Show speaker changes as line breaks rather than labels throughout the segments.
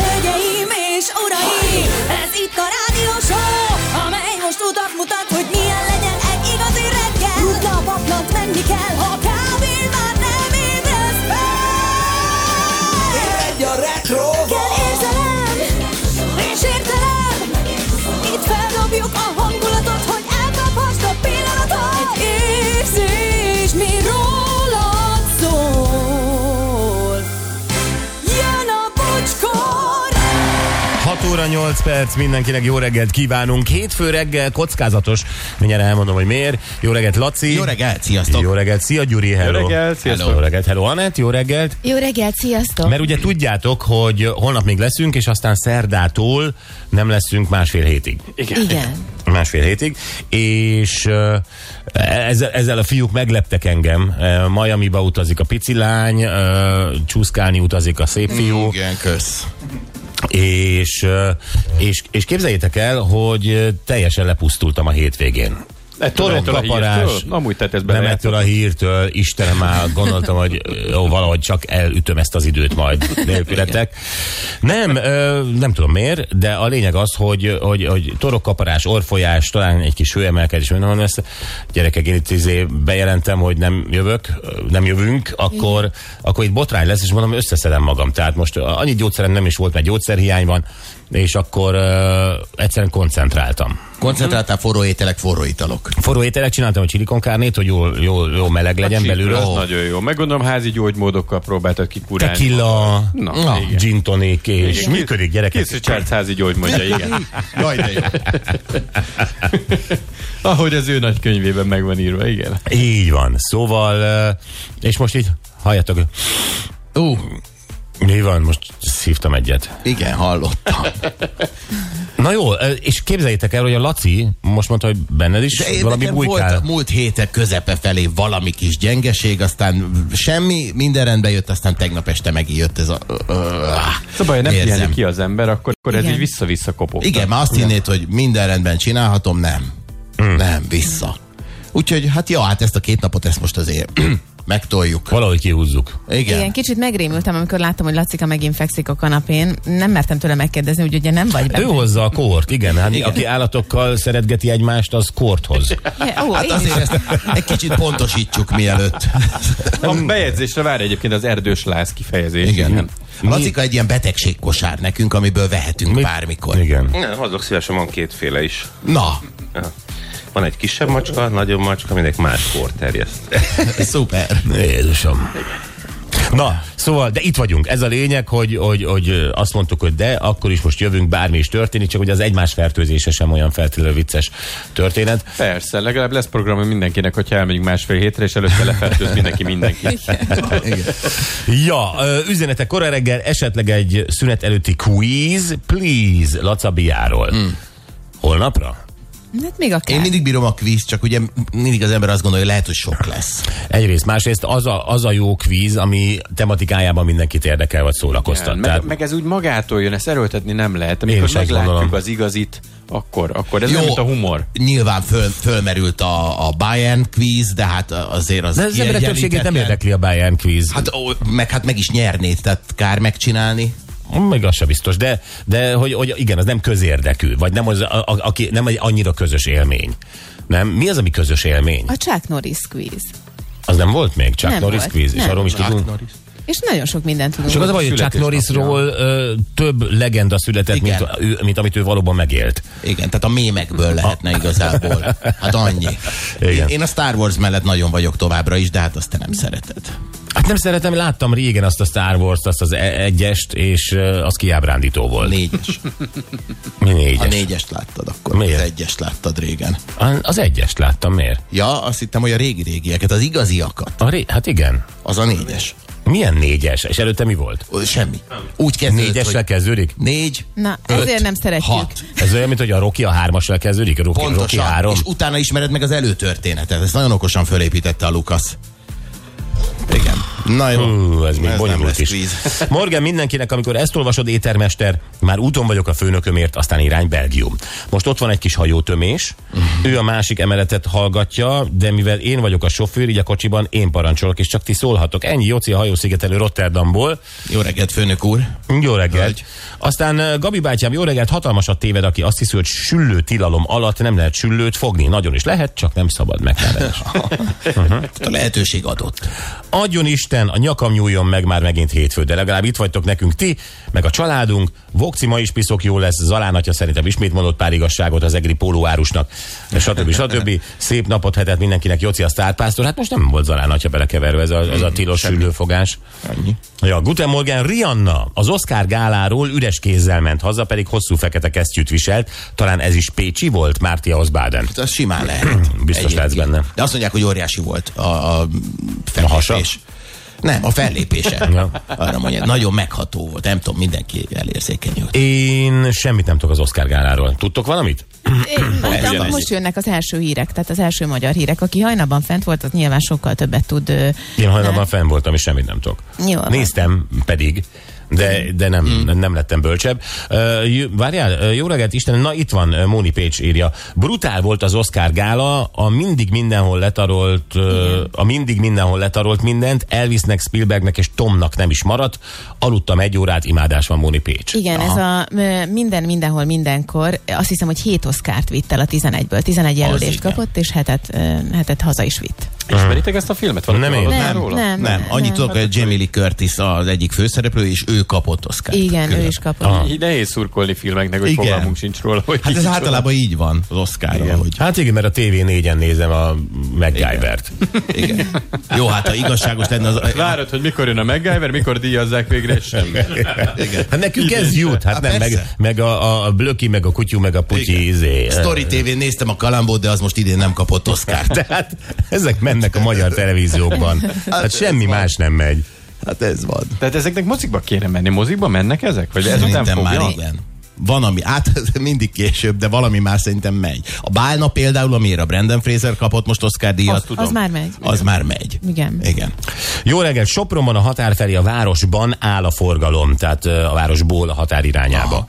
Hölgyeim és uraim, ez itt a rádió show, amely most utat mutat, hogy milyen legyen egy igazi reggel. Rutna a paplant, menni kell, ha kávén már nem ébresz fel.
Egy a retro
Kell érzelem, és értelem, itt feldobjuk a hangulatot, hogy elkaphast a pillanatot. Egy érzés, mi rólad szól. Jön a bocskor!
6 óra 8 perc, mindenkinek jó reggelt kívánunk. Hétfő reggel kockázatos, mindjárt elmondom, hogy miért. Jó reggelt, Laci.
Jó reggelt, sziasztok!
Jó reggelt, szia Gyuri, hello.
Jó reggelt, sziasztok.
Hello. Jó reggelt, hello Anett, jó reggelt.
Jó reggelt, sziasztok!
Mert ugye tudjátok, hogy holnap még leszünk, és aztán szerdától nem leszünk másfél hétig.
Igen.
Másfél hétig. És ö, ezzel, ezzel a fiúk megleptek engem. Ö, Miami-ba utazik a pici lány, ö, csúszkálni utazik a szép fiú.
Igen, kösz.
És, ö, és, és képzeljétek el, hogy ö, teljesen lepusztultam a hétvégén.
Ettől- ettől a
Torongkaparás.
hírtől? Amúgy tehát ez
Nem
bele-
ettől a hírtől, Istenem már gondoltam, hogy jó, valahogy csak elütöm ezt az időt majd nélkületek. Nem, ö, nem tudom miért, de a lényeg az, hogy, hogy, hogy torokkaparás, orfolyás, talán egy kis hőemelkedés, minden van ezt. Gyerekek, én itt izé bejelentem, hogy nem jövök, ö, nem jövünk, akkor, akkor itt botrány lesz, és mondom, összeszedem magam. Tehát most annyi gyógyszerem nem is volt, mert gyógyszerhiány van, és akkor ö, egyszerűen koncentráltam
Koncentráltál forró ételek, forró italok.
forró ételek csináltam a csilikonkárnét, hogy jól, jól, jól meleg legyen belőle.
Hát Az
Ó,
nagyon jó. Meggondolom, házi gyógymódokkal próbáltad kikúrálni.
Tequila,
Na,
na,
igen.
gin tonic, és
Igen.
működik gyerekek.
Kész Richards házi gyógymódja, igen.
Jaj, de jó.
Ahogy az ő nagy könyvében meg van írva, igen.
Így van. Szóval, ö, és most így, halljátok,
Ú,
mi van, most szívtam egyet.
igen, hallottam.
Na jó, ö, és képzeljétek el, hogy a Laci most mondta, hogy benned is
De én
valami
nekem volt a
bujkál.
múlt héten közepe felé valami kis gyengeség, aztán semmi, minden rendbe jött, aztán tegnap este megint jött ez a...
Szóval, ha nem
Érzem.
piheni ki az ember, akkor, akkor ez
Igen.
így vissza-vissza kopog.
Igen, már azt hinnéd, hogy minden rendben csinálhatom, nem. Nem, vissza. Úgyhogy, hát jó, hát ezt a két napot, ezt most azért megtoljuk.
Valahogy kihúzzuk.
Igen.
Igen, kicsit megrémültem, amikor láttam, hogy Lacika megint fekszik a kanapén. Nem mertem tőle megkérdezni, hogy ugye nem vagy
Ő
benne.
hozza a kort, igen. Hát aki állatokkal szeretgeti egymást, az kort hoz.
Ja, ó,
Hát
én
azért ezt egy kicsit pontosítsuk mielőtt.
A bejegyzésre vár egyébként az erdős láz kifejezés.
Igen. Lacika egy ilyen betegségkosár nekünk, amiből vehetünk bármikor.
Igen.
Nem, azok szívesen van kétféle is.
Na,
Ja. Van egy kisebb macska, nagyobb macska, mindenki más kor terjeszt.
szuper.
Jézusom. Na, szóval, de itt vagyunk. Ez a lényeg, hogy, hogy, hogy ö, azt mondtuk, hogy de, akkor is most jövünk, bármi is történik, csak hogy az egymás fertőzése sem olyan feltétlenül vicces történet.
Persze, legalább lesz program mindenkinek, hogyha elmegyünk másfél hétre, és előtte lefertőz mindenki mindenki.
Igen.
Ja, ö, üzenetek kora reggel, esetleg egy szünet előtti quiz, please, Lacabiáról. Hmm. Holnapra?
Hát még akár.
Én mindig bírom a kvíz, csak ugye mindig az ember azt gondolja, hogy lehet, hogy sok lesz.
Egyrészt, másrészt az a, az a jó kvíz, ami tematikájában mindenkit érdekel, vagy szórakoztat.
Meg, meg, ez úgy magától jön, ezt erőltetni nem lehet. Amikor
is azt
meglátjuk
gondolom.
az igazit, akkor, akkor ez nem mint a humor.
Nyilván föl, fölmerült a, a Bayern kvíz, de hát azért az
de az emberek többségét nem
kiegyenlíthetetlen.
érdekli a Bayern quiz.
Hát, ó, meg hát meg is nyernéd, tehát kár megcsinálni.
Meg Hm, az sem biztos, de, de hogy, hogy igen, az nem közérdekű, vagy nem, az, a, a, aki, nem egy annyira közös élmény. Nem? Mi az, ami közös élmény?
A Chuck Norris quiz.
Az nem volt még? Chuck
Hát- Nem
Norris
volt.
quiz, és
Nem.
arról is tudunk.
És nagyon sok mindent tudunk.
Csak az a baj, hogy Chuck
Születésnapja.
Norrisról ö, több legenda született, mint,
Igen.
ő, mint amit ő valóban megélt.
Igen, tehát a mémekből lehetne igazából. Hát annyi.
Igen.
Én a Star Wars mellett nagyon vagyok továbbra is, de hát azt te nem szereted.
Hát nem szeretem, láttam régen azt a Star Wars-t, azt az e- egyest, és ö, az kiábrándító
A
volt.
négyes.
Mi
A
négyes?
négyest láttad akkor.
Miért?
Az egyest láttad régen.
A- Az egyest láttam, miért?
Ja, azt hittem, hogy a régi-régieket, az igaziakat.
A ré- hát igen.
Az a négyes.
Milyen négyes? És előtte mi volt?
Ö, Semmi. Úgy kezdődött,
Négyessel
hogy
kezdődik?
négy,
Na,
öt,
ezért nem szeretjük.
Hat.
Ez olyan, mint hogy a Rocky a hármasra kezdődik, a Rocky, Rocky
Pontosan.
három.
És utána ismered meg az előtörténetet. Ezt nagyon okosan fölépítette a Lukasz. Igen. Na jó.
Hú, ez még
Ez
ez
nem
bonyolult
lesz
is.
kvíz.
Morgan, mindenkinek, amikor ezt olvasod, étermester, már úton vagyok a főnökömért, aztán irány Belgium. Most ott van egy kis hajótömés,
Mhm.
ő a másik emeletet hallgatja, de mivel én vagyok a sofőr, így a kocsiban én parancsolok, és csak ti szólhatok. Ennyi Jóci a hajószigetelő Rotterdamból.
Jó reggelt, főnök úr.
Jó reggelt.
Hölgy.
Aztán ö, Gabi bátyám, jó reggelt, hatalmasat téved, aki azt hiszi, hogy süllő tilalom alatt nem lehet süllőt fogni. Nagyon is lehet, csak nem szabad megtámadni.
A lehetőség adott.
Adjon Isten, a nyakam nyúljon meg már megint hétfő, de legalább itt vagytok nekünk ti, meg a családunk. Vokci ma is piszok jó lesz, Zalán atya szerintem ismét mondott pár igazságot az egri pólóárusnak, stb. stb. Szép napot hetet mindenkinek, Joci a sztárpásztor. Hát most nem volt Zalán atya belekeverve ez a, ez a tilos sülőfogás.
Annyi.
Ja, Guten Morgen, Rihanna az Oscar gáláról üres kézzel ment haza, pedig hosszú fekete kesztyűt viselt. Talán ez is Pécsi volt, Mártia Osbaden.
Hát az simán lehet.
Biztos lehetsz benne.
De azt mondják, hogy óriási volt a, a
A hasa?
fellépés. Nem, a fellépése.
Ja.
Arra mondják, nagyon megható volt. Nem tudom, mindenki elérzékenyült.
Én semmit nem tudok az Oscar gáláról. Tudtok valamit?
Mondtam, most jönnek az első hírek, tehát az első magyar hírek. Aki hajnalban fent volt, az nyilván sokkal többet tud. ö,
Én hajnalban fenn voltam, és semmit nem tudok.
Jól van. Mm.
Néztem pedig, de, de nem, nem lettem bölcsebb. Ö, jö- Várjál, ö, jó reggelt, Isten, na itt van, ö, Móni Pécs írja. Brutál volt az Oscar gála, a mindig mindenhol letarolt, ö, a mindig mindenhol letarolt mindent, Elvisnek, Spielbergnek és Tomnak nem is maradt. Aludtam egy órát, imádás van Móni Pécs.
Igen, ez a ö, minden, mindenhol, mindenkor. Azt hiszem, hogy 7 oszkárt vitt el a 11-ből. 11 jelölést
igen.
kapott, és hetet, ö, hetet haza is vitt.
Ismeritek ezt a filmet? Valaki
Nem én.
hallott már
Nem,
róla?
nem,
Nem, annyit tudok, hogy Jamie Lee Curtis az egyik főszereplő, és ő kapott Oscar.
Igen, ő is kapott.
Így nehéz szurkolni filmeknek, hogy
Igen.
fogalmunk sincs róla. Hogy
Hát ez
micsoda.
általában így van az Oscarra, hogy
Hát igen, mert a TV4-en nézem a MacGyvert.
igen. Jó, hát ha igazságos lenne az...
Várod, hogy mikor jön a MacGyver, mikor díjazzák végre, és semmi.
Igen.
Hát nekünk ez jut, hát
Hát
nem, meg,
persze.
meg a, a Blöki, meg a Kutyú, meg a Putyi, izé.
Story tv néztem a kalambót, de az most idén nem kapott Oscar.
Tehát ezek mennek a magyar televíziókban. Hát
ez
semmi
van.
más nem megy.
Hát ez van.
Tehát ezeknek mozikba kéne menni. Mozikba mennek ezek? Vagy ez nem
Szerintem már
fogja?
igen. Van, ami, hát ez mindig később, de valami már szerintem megy. A Bálna például, amiért a Brandon Fraser kapott most Oscar díjat,
Azt tudom.
Az már megy.
az már megy.
Igen.
Igen.
Jó reggel, Sopronban a határ felé a városban áll a forgalom, tehát ö, a városból a határ irányába.
Ah.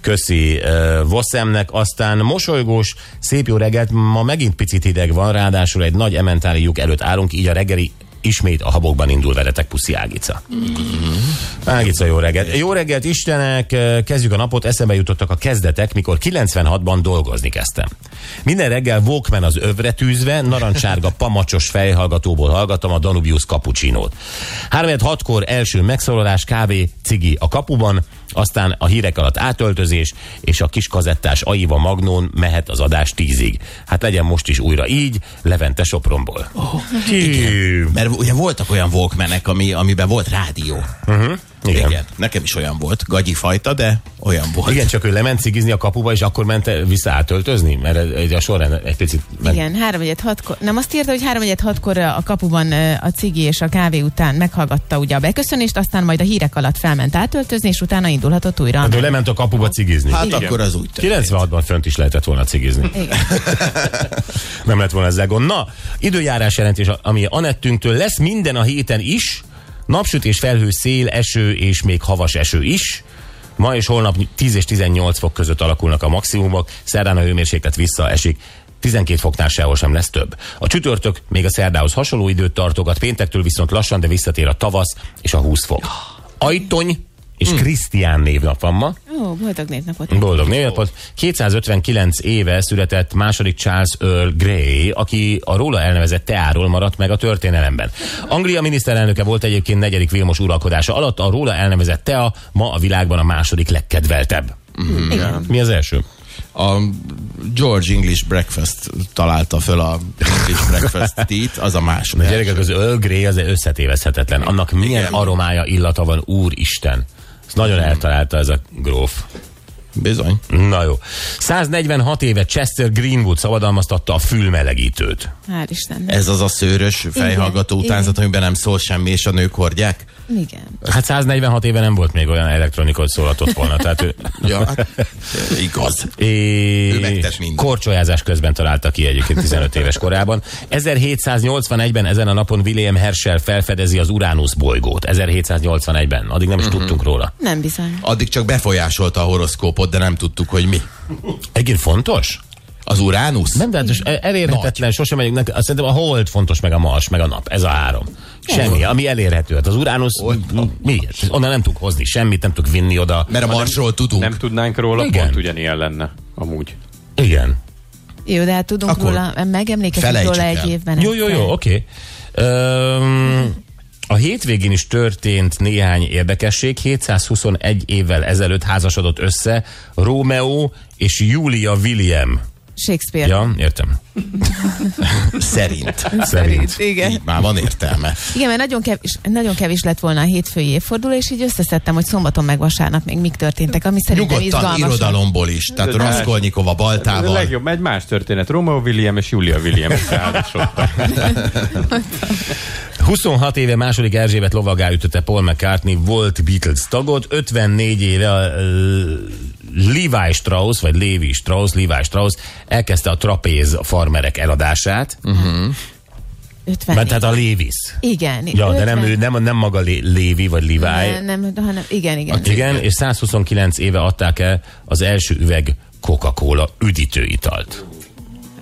Köszi ö, Voszemnek, aztán mosolygós, szép jó reggelt, ma megint picit hideg van, ráadásul egy nagy ementáli lyuk előtt állunk, így a reggeli ismét a habokban indul veletek, puszi Ágica. Ágica, jó reggelt. Jó reggelt, Istenek, kezdjük a napot. Eszembe jutottak a kezdetek, mikor 96-ban dolgozni kezdtem. Minden reggel Walkman az övre tűzve, narancsárga pamacsos fejhallgatóból hallgattam a Danubius kapucsinót. 3-6-kor első megszólalás, kávé, cigi a kapuban, aztán a hírek alatt átöltözés, és a kis kazettás Aiva Magnón mehet az adás tízig. Hát legyen most is újra így, Levente Sopronból. Oh,
Mert ugye voltak olyan Walkmanek, ami, amiben volt rádió. Uh-huh.
Igen.
Igen. Igen. Nekem is olyan volt. Gagyi fajta, de olyan volt.
Igen, csak ő lement cigizni a kapuba, és akkor ment vissza átöltözni, mert ez- ez a sorrend egy picit... ment.
Igen, 3 hatkor. Nem azt írta, hogy 3 hatkor a kapuban ö, a cigi és a kávé után meghallgatta ugye a beköszönést, aztán majd a hírek alatt felment átöltözni, és utána indulhatott újra.
Hát ő lement a kapuba cigizni.
Hát akkor az úgy történt.
96-ban fönt is lehetett volna cigizni.
Igen.
Nem lett volna ezzel gond. Na, időjárás jelentés, ami Anettünktől lesz minden a héten is. Napsütés, felhő, szél, eső és még havas eső is. Ma és holnap 10 és 18 fok között alakulnak a maximumok, szerdán a hőmérséklet visszaesik, 12 foknál sehol sem lesz több. A csütörtök még a szerdához hasonló időt tartogat, péntektől viszont lassan, de visszatér a tavasz és a 20 fok. Ajtony és Krisztián névnap van ma.
Ó, boldog névnapot.
Boldog névnapot. 259 éve született második Charles Earl Grey, aki a róla elnevezett teáról maradt meg a történelemben. Anglia miniszterelnöke volt egyébként negyedik Vilmos uralkodása alatt, a róla elnevezett tea ma a világban a második legkedveltebb.
Igen.
Mi az első?
a George English Breakfast találta föl a English Breakfast Tea-t, az a
A
második.
gyerekek, az Earl Grey az összetévezhetetlen. Annak milyen aromája, illata van, úristen. Ezt nagyon eltalálta ez a gróf.
Bizony.
Na jó. 146 éve Chester Greenwood szabadalmaztatta a fülmelegítőt.
Hál' Istennek.
E-
Ez az a szőrös fejhallgató
igen.
utánzat, amiben nem szól semmi, és a nők hordják?
Igen.
Hát 146 éve nem volt még olyan elektronika, hogy szólatott volna. Tehát ő,
Ja, hát, igaz. Ő
és
megtett mindent.
korcsolyázás közben találta ki egyébként 15 éves korában. 1781-ben ezen a napon William Herschel felfedezi az Uranus bolygót. 1781-ben. Addig nem is
Mhm.
tudtunk róla.
Nem bizony.
Addig csak befolyásolta a horoszkópot, de nem tudtuk, hogy mi.
Egyébként fontos?
Az Uránusz?
Nem, de hát most elérhetetlen, sosem megyünk neki. Azt szerintem a hold fontos, meg a mars, meg a nap. Ez a három. Semmi, ami elérhető. Hát az Uránusz, mi? Onnan nem tudunk hozni semmit, nem tudunk vinni oda.
Mert a Marsról tudunk.
Nem tudnánk róla,
Igen.
Igen. pont ugyanilyen lenne amúgy.
Igen.
Jó, de hát tudunk
Akkor
róla, megemlékezünk
felejtsük
róla egy
el.
évben.
Jó, jó, jó, oké. Öm, A hétvégén is történt néhány érdekesség. 721 évvel ezelőtt házasodott össze Rómeó és Júlia William.
Shakespeare.
Ja, értem.
Szerint.
Szerint.
Igen.
Így már van értelme.
Igen, mert nagyon kevés, nagyon kevés lett volna a hétfői évforduló, és így összeszedtem, hogy szombaton meg vasárnap még mik történtek, ami szerintem
Nyugodtan
izgalmas.
irodalomból is. Tehát
De- de-
Raskolnikova
Ez a
baltával.
legjobb, egy más történet. Romeo William és Julia William összeházasodtak.
26 éve második Erzsébet lovagá ütötte Paul McCartney volt Beatles tagot, 54 éve a ö, Levi Strauss, vagy Levi Strauss, Levi Strauss elkezdte a trapéz farmerek eladását, uh-huh.
50
mert
év.
tehát a Levis.
Igen.
Ja, de nem,
50.
ő, nem, nem maga Lé- Lévi, vagy Levi.
Ne, Nem, hanem, igen, igen.
Igen, és 129 éve adták el az első üveg Coca-Cola üdítőitalt.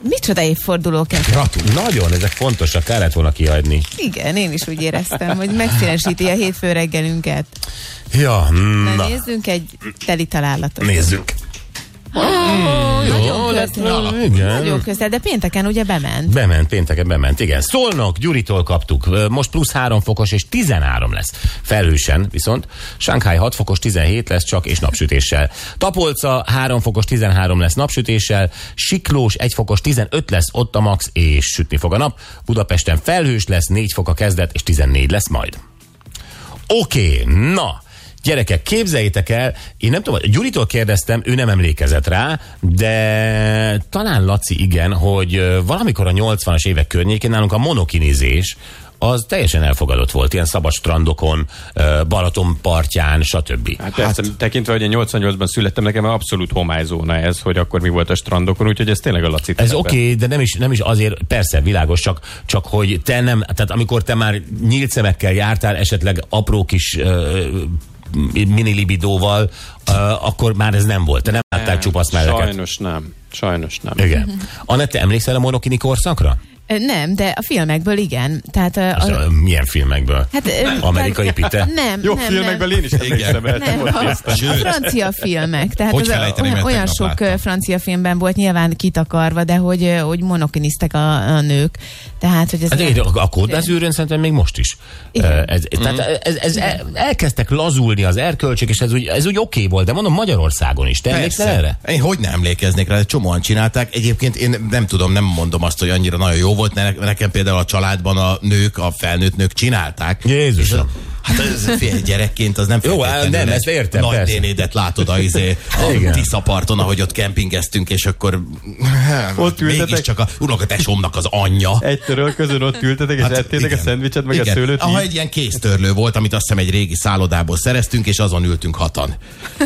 Micsoda évforduló kezd.
Gratulál. Nagyon, ezek fontosak, kellett volna kihagyni.
Igen, én is úgy éreztem, hogy megszínesíti a hétfő reggelünket.
Ja, mm,
Na,
na,
nézzünk egy teli találatot.
nézzük.
Nagyon közel.
Igen.
Nagyon közel, de pénteken ugye bement.
Bement, pénteken bement, igen. Szolnok, Gyuritól kaptuk. Ö, Most plusz 3 fokos és 13 lesz. Felősen viszont. Shanghai 6 fokos, 17 lesz csak és napsütéssel. Tapolca 3 fokos, 13 lesz napsütéssel. Siklós 1 fokos, 15 lesz ott a max és sütni fog a nap. Budapesten felhős lesz, 4 fok a kezdet és 14 lesz majd. Oké, okay, na. Gyerekek, képzeljétek el, én nem tudom, Gyuritól kérdeztem, ő nem emlékezett rá, de talán Laci igen, hogy ö, valamikor a 80-as évek környékén nálunk a monokinizés az teljesen elfogadott volt, ilyen szabad strandokon, ö, Balaton partján, stb.
Hát persze, tekintve, hogy én 88-ban születtem, nekem abszolút homályzóna ez, hogy akkor mi volt a strandokon, úgyhogy ez tényleg a Laci
Ez
terepe.
oké, okay, de nem is, nem is azért, persze, világos, csak, csak hogy te nem, tehát amikor te már nyílt szemekkel jártál, esetleg apró kis ö, mini libidóval, ö, akkor már ez nem volt. Te nem láttál csupasz melleket.
Sajnos nem. Sajnos nem.
Igen. Anett, te emlékszel a monokini korszakra?
Ö, Nem, de a filmekből igen. Tehát, ö,
Az,
a,
ö, milyen filmekből?
hát, ö,
Amerikai
tehát-
pite?
Nem,
Jó
nem,
filmekben
nem.
én is emlékszem el.
Nem, a, a francia filmek. Tehát
Hogy
az a-
felejteném,
olyan,
mert
olyan
tegnap
sok
láttam.
ö, francia filmben volt nyilván kitakarva, de hogy, ö, hogy monokinisztek a, a nők. Tehát, hogy ez
Hát
nem-
igen, a kódbezűrön szerintem még most is.
Igen.
Ö, Ez, tehát ez, ez el, elkezdtek lazulni az erkölcsök, és ez úgy, ez úgy oké okay volt, de mondom Magyarországon is. Te emlékszel erre?
Én hogy nem emlékeznék rá, csomóan csinálták. Egyébként én nem tudom, nem mondom azt, hogy annyira nagyon jó volt, ne, nekem például a családban a nők, a felnőtt nők csinálták.
Jézusom.
És a- Hát ez fél gyerekként az nem
Jó,
feltétlenül
á, nem,
egy
ezt értem,
Nagy
persze.
nénédet látod a, izé, a
Igen.
Tiszaparton, ahogy ott kempingeztünk, és akkor
Ott ültetek?
csak a unokatesómnak az anyja.
Egy töröl közön ott ültetek, és hát, ettétek
igen.
a szendvicset, meg
igen.
a szőlőt.
Aha,
így?
egy ilyen kéztörlő volt, amit azt hiszem egy régi szállodából szereztünk, és azon ültünk hatan.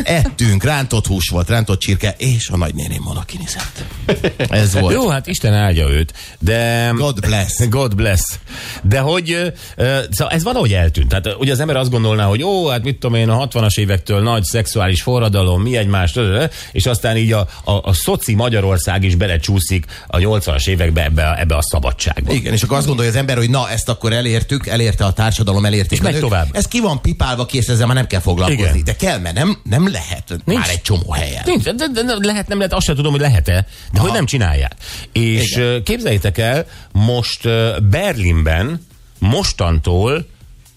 Ettünk, rántott hús volt, rántott csirke, és a nagynéném monokinizett. Ez volt.
Jó, hát Isten áldja őt, de...
God bless.
God bless. De hogy, ö, ö, szóval ez valahogy eltűnt. Tehát ö, ugye az ember azt gondolná, hogy ó, hát mit tudom én, a 60-as évektől nagy szexuális forradalom, mi egymást, ö, ö, és aztán így a, a, a szoci Magyarország is belecsúszik a 80-as évekbe ebbe, a- ebbe a szabadságba.
Igen, és akkor azt gondolja az ember, hogy na, ezt akkor elértük, elérte a társadalom, elérték
És
a
megy
nők.
tovább.
Ez ki van pipálva, kész, ezzel már nem kell foglalkozni.
Igen.
De kell, mert nem, nem lehet Nincs. már egy csomó helyen.
Nincs, de, de, de lehet, nem lehet, azt sem tudom, hogy lehet-e, de hogy nem csinálják. És
Igen.
Igen. képzeljétek el, most ö, Berlinben mostantól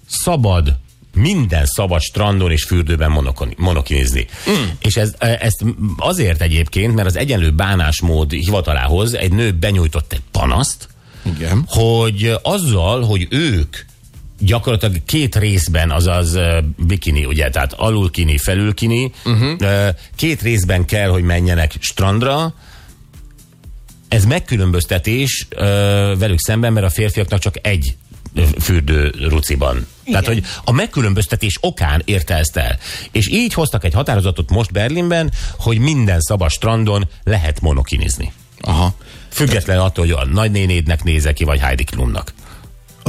szabad minden szabad strandon és fürdőben monokon- monokinizni. Mm. És ez, e- ezt azért egyébként, mert az egyenlő bánásmód hivatalához egy nő benyújtott egy panaszt,
Igen.
hogy azzal, hogy ők gyakorlatilag két részben, azaz ö, bikini, ugye, tehát alulkini, felülkini, uh-huh. két részben kell, hogy menjenek strandra, Ez megkülönböztetés ö, velük szemben, mert a férfiaknak csak egy ö, fürdő ruciban. Igen. Tehát, hogy a megkülönböztetés okán érte ezt el. És így hoztak egy határozatot most Berlinben, hogy minden szabad strandon lehet monokinizni.
Aha.
Független attól, hogy a nagynénédnek nézek ki, vagy Heidi Klumnak.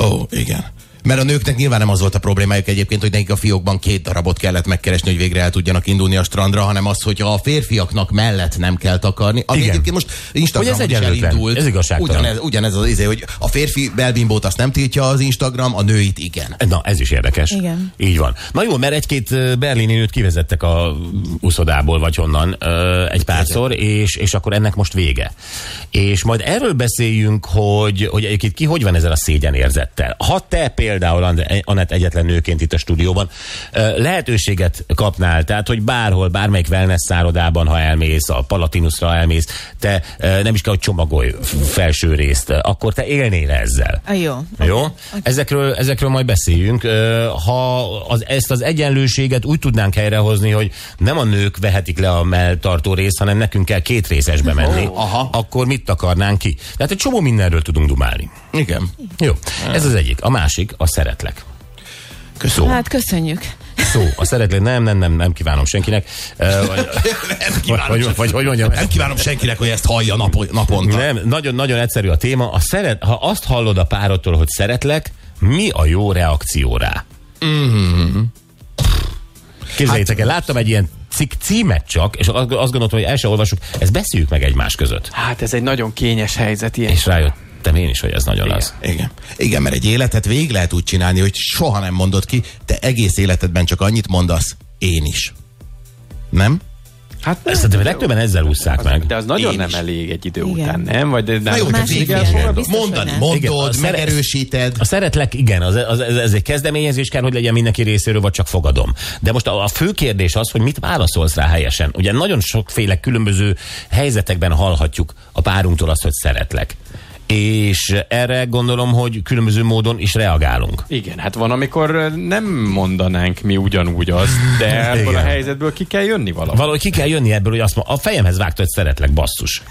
Ó, igen. Mert a nőknek nyilván nem az volt a problémájuk egyébként, hogy nekik a fiókban két darabot kellett megkeresni, hogy végre el tudjanak indulni a strandra, hanem az, hogyha a férfiaknak mellett nem kell takarni. Ami
Igen.
egyébként most Instagramon
Hogy ez
is
egyenlőtlen.
elindult.
Ez igazságtalan.
Ugyanez, ugyanez az izé, hogy a férfi belbimbót azt nem tiltja az Instagram, a nőit igen.
Na, ez is érdekes.
Igen.
Így van. Na jó, mert egy-két ö, berlini nőt kivezettek a uszodából, vagy honnan ö, egy párszor, és, és akkor ennek most vége. És majd erről beszéljünk, hogy, hogy egyébként ki hogy van ezzel a szégyenérzettel. Ha te például, And- Anett egyetlen nőként itt a stúdióban, ö, lehetőséget kapnál, tehát, hogy bárhol, bármelyik wellness szárodában, ha elmész, a Palatinusra elmész, te ö, nem is kell, hogy csomagolj f- felső részt, ö, akkor te élnél ezzel.
A jó.
Jó? Ezekről, ezekről majd beszéljünk. Ö, Ha az, ezt az egyenlőséget úgy tudnánk helyrehozni, hogy nem a nők vehetik le a melltartó részt, hanem nekünk kell két részesbe menni, oh, aha. akkor mit takarnánk ki? Tehát egy csomó mindenről tudunk dumálni.
Igen.
Jó, ez az egyik. A másik, a szeretlek.
Köszönöm.
Hát köszönjük.
Szó, a szeretlek, nem, nem, nem, nem kívánom senkinek. Ö, vagy-
nem kívánom,
Vagy, vagy, vagy hogy mondjam,
nem kívánom senkinek, hogy ezt hallja napo- naponta.
nem, nagyon-nagyon egyszerű a téma. A szeret, ha azt hallod a párodtól, hogy szeretlek, mi a jó reakció rá? Mm. Képzeljétek el, láttam egy ilyen cikk címet csak, és azt azt gondoltam, hogy el se olvasjuk, ezt beszéljük meg egymás között.
Hát ez egy nagyon kényes helyzet ilyen.
És rájöttem én is, hogy ez nagyon az.
Igen. Igen, mert egy életet végig lehet úgy csinálni, hogy soha nem mondod ki, te egész életedben csak annyit mondasz, én is. Nem?
Hát nem,
Ezt de legtöbben ezzel ússzák meg.
De az nagyon
Én
nem
is.
elég egy idő
Igen.
után, nem? Vagy de,
Na
de
jó, de
másik
végig
ilyen.
elfogadod.
Biztos, hogy
Mondani,
nem.
Igen, a
mondod,
szere-
megerősíted.
A szeretlek, igen, az, az, ez, ez egy kezdeményezés kell, hogy legyen mindenki részéről, vagy csak fogadom. De most a, a fő kérdés az, hogy mit válaszolsz rá helyesen. Ugye nagyon sokféle különböző helyzetekben hallhatjuk a párunktól azt, hogy szeretlek. És erre gondolom, hogy különböző módon is reagálunk.
Igen, hát van, amikor nem mondanánk mi ugyanúgy azt, de ebből a
Igen.
helyzetből ki kell jönni valahogy.
Valahogy ki kell jönni ebből, hogy azt mondom, a fejemhez vágtad, hogy szeretlek, basszus.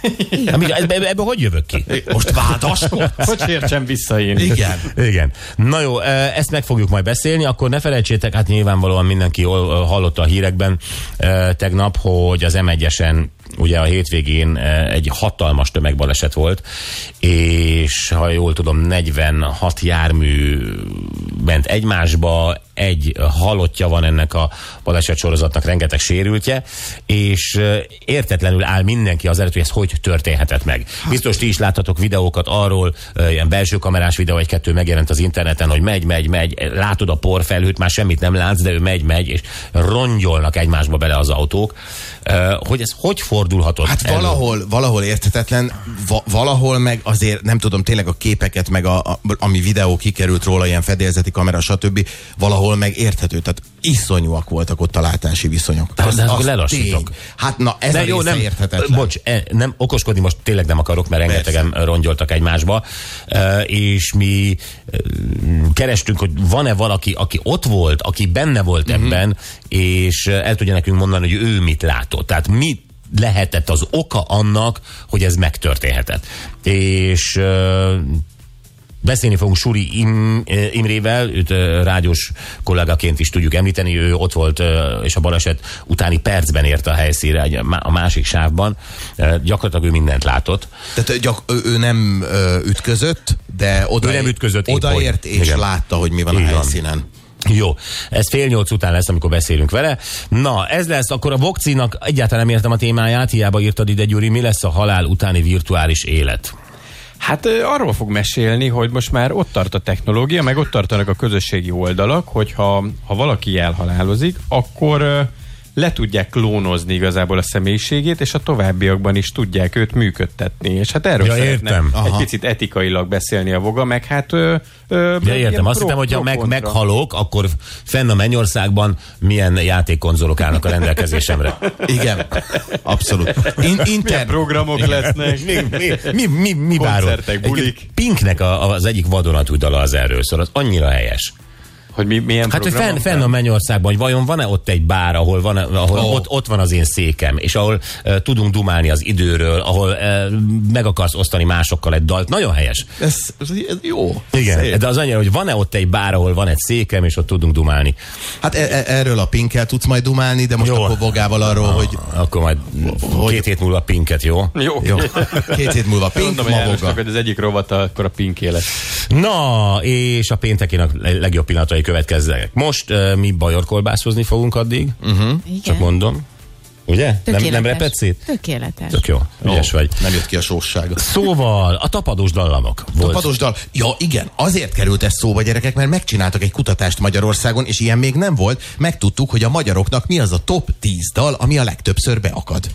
Amíg, ebbe, ebbe, ebből hogy jövök ki?
Most vádaskodsz?
Hogy sértsem vissza én.
Igen.
Igen. Na jó, e, ezt meg fogjuk majd beszélni, akkor ne felejtsétek, hát nyilvánvalóan mindenki ol- hallotta a hírekben e, tegnap, hogy az M1-esen ugye a hétvégén e, egy hatalmas tömegbaleset volt, és ha jól tudom, 46 jármű ment egymásba, egy halottja van ennek a baleset sorozatnak, rengeteg sérültje, és e, értetlenül áll mindenki az előtt, hogy ez hogy történhetett meg.
Hát-
Biztos ti is láttatok videókat arról, e, ilyen belső kamerás videó egy-kettő megjelent az interneten, hogy megy, megy, megy, látod a porfelhőt, már semmit nem látsz, de ő megy, megy, és rongyolnak egymásba bele az autók. E, Hogy ez hogy fordulhatott
Hát
elő?
valahol, valahol érthetetlen, va- valahol meg azért, nem tudom, tényleg a képeket, meg a, a, ami videó kikerült róla, ilyen fedélzeti kamera, stb. Valahol meg érthető. Tehát iszonyúak voltak ott a látási viszonyok.
De
Az-
akkor
az
lelassítok.
tény. Hát na, ez
De
a
jó, nem,
érthetetlen.
bocs, e, nem okoskodni most tényleg nem akarok, mert rengetegen rongyoltak egymásba, e, és mi e, kerestünk, hogy van-e valaki, aki ott volt, aki benne volt
Mhm.
ebben, és el tudja nekünk mondani, hogy ő mit látott. Tehát mi lehetett az oka annak, hogy ez megtörténhetett. És e, Beszélni fogunk Suri Im, eh, Imrével, őt eh, rádiós kollégaként is tudjuk említeni, ő ott volt, eh, és a baleset utáni percben érte a helyszínre, egy- a másik sávban. Eh, Gyakorlatilag ő mindent látott.
Tehát ő gyak, ő, ő nem ö, ütközött, de oda,
Ő nem ütközött, épp
odaért,
hogy.
és
Igen.
látta, hogy mi van
Így
a
van.
helyszínen.
Jó, ez fél nyolc után lesz, amikor beszélünk vele. Na, ez lesz, akkor a Vokcinak egyáltalán nem értem a témáját, hiába írtad ide, Gyuri, mi lesz a halál utáni virtuális élet?
Hát ö, arról fog mesélni, hogy most már ott tart a technológia, meg ott tartanak a közösségi oldalak, hogyha ha valaki elhalálozik, akkor ö, le tudják klónozni igazából a személyiségét, és a továbbiakban is tudják őt működtetni. És hát erről
Ja,
szeretne
értem.
egy
Aha.
picit etikailag beszélni a voga, meg hát... Ö, ö,
Ja, értem,
ilyen
azt
pro-
hittem, hogy ha
pro-
meg,
kontra.
meghalok, akkor fenn a Mennyországban milyen játékkonzolok állnak a rendelkezésemre.
Igen, abszolút. In,
Milyen
inter,
programok lesznek?
mi, mi, mi, mi bárod?
Koncertek, bulik.
Egyébként Pinknek a, a- az egyik vadonatúj dala az erről szól, az annyira helyes.
Hogy mi, milyen
Hát, hogy
program
fenn,
van?
fenn a Mennyországban, hogy vajon van-e ott egy bár, ahol, van, ahol oh. ott, ott van az én székem, és ahol uh, tudunk dumálni az időről, ahol uh, meg akarsz osztani másokkal egy dalt. Nagyon helyes.
Ez, ez, ez jó.
Igen,
Szép.
Szép. de az annyira, hogy van-e ott egy bár, ahol van egy székem, és ott tudunk dumálni.
Hát e- e- erről a pinkkel tudsz majd dumálni, de most
Jó.
jó. akkor bogával arról, hogy
Akkor majd hogy... két hét múlva pinket, jó?
Jó.
jó, két hét múlva pink,
Mondom, hogy
ma boga.
Jánosnak, hogy az egyik rovata, akkor a pinké lesz.
Na, és a péntekének legjobb pillanatai következnek. Most uh, mi bajorkolbászhozni fogunk addig, uh-huh. csak
Igen.
mondom. Ugye? Nem,
Tökéletes.
nem repetszét?
Tökéletes.
Tök jó, ügyes vagy.
Nem jött ki a sóssága.
Szóval a tapadós dallamok volt.
Tapadós dal. Ja, igen, azért került ez szóba, gyerekek, mert megcsináltak egy kutatást Magyarországon, és ilyen még nem volt. Megtudtuk, hogy a magyaroknak mi az a top 10 dal, ami a legtöbbször beakad.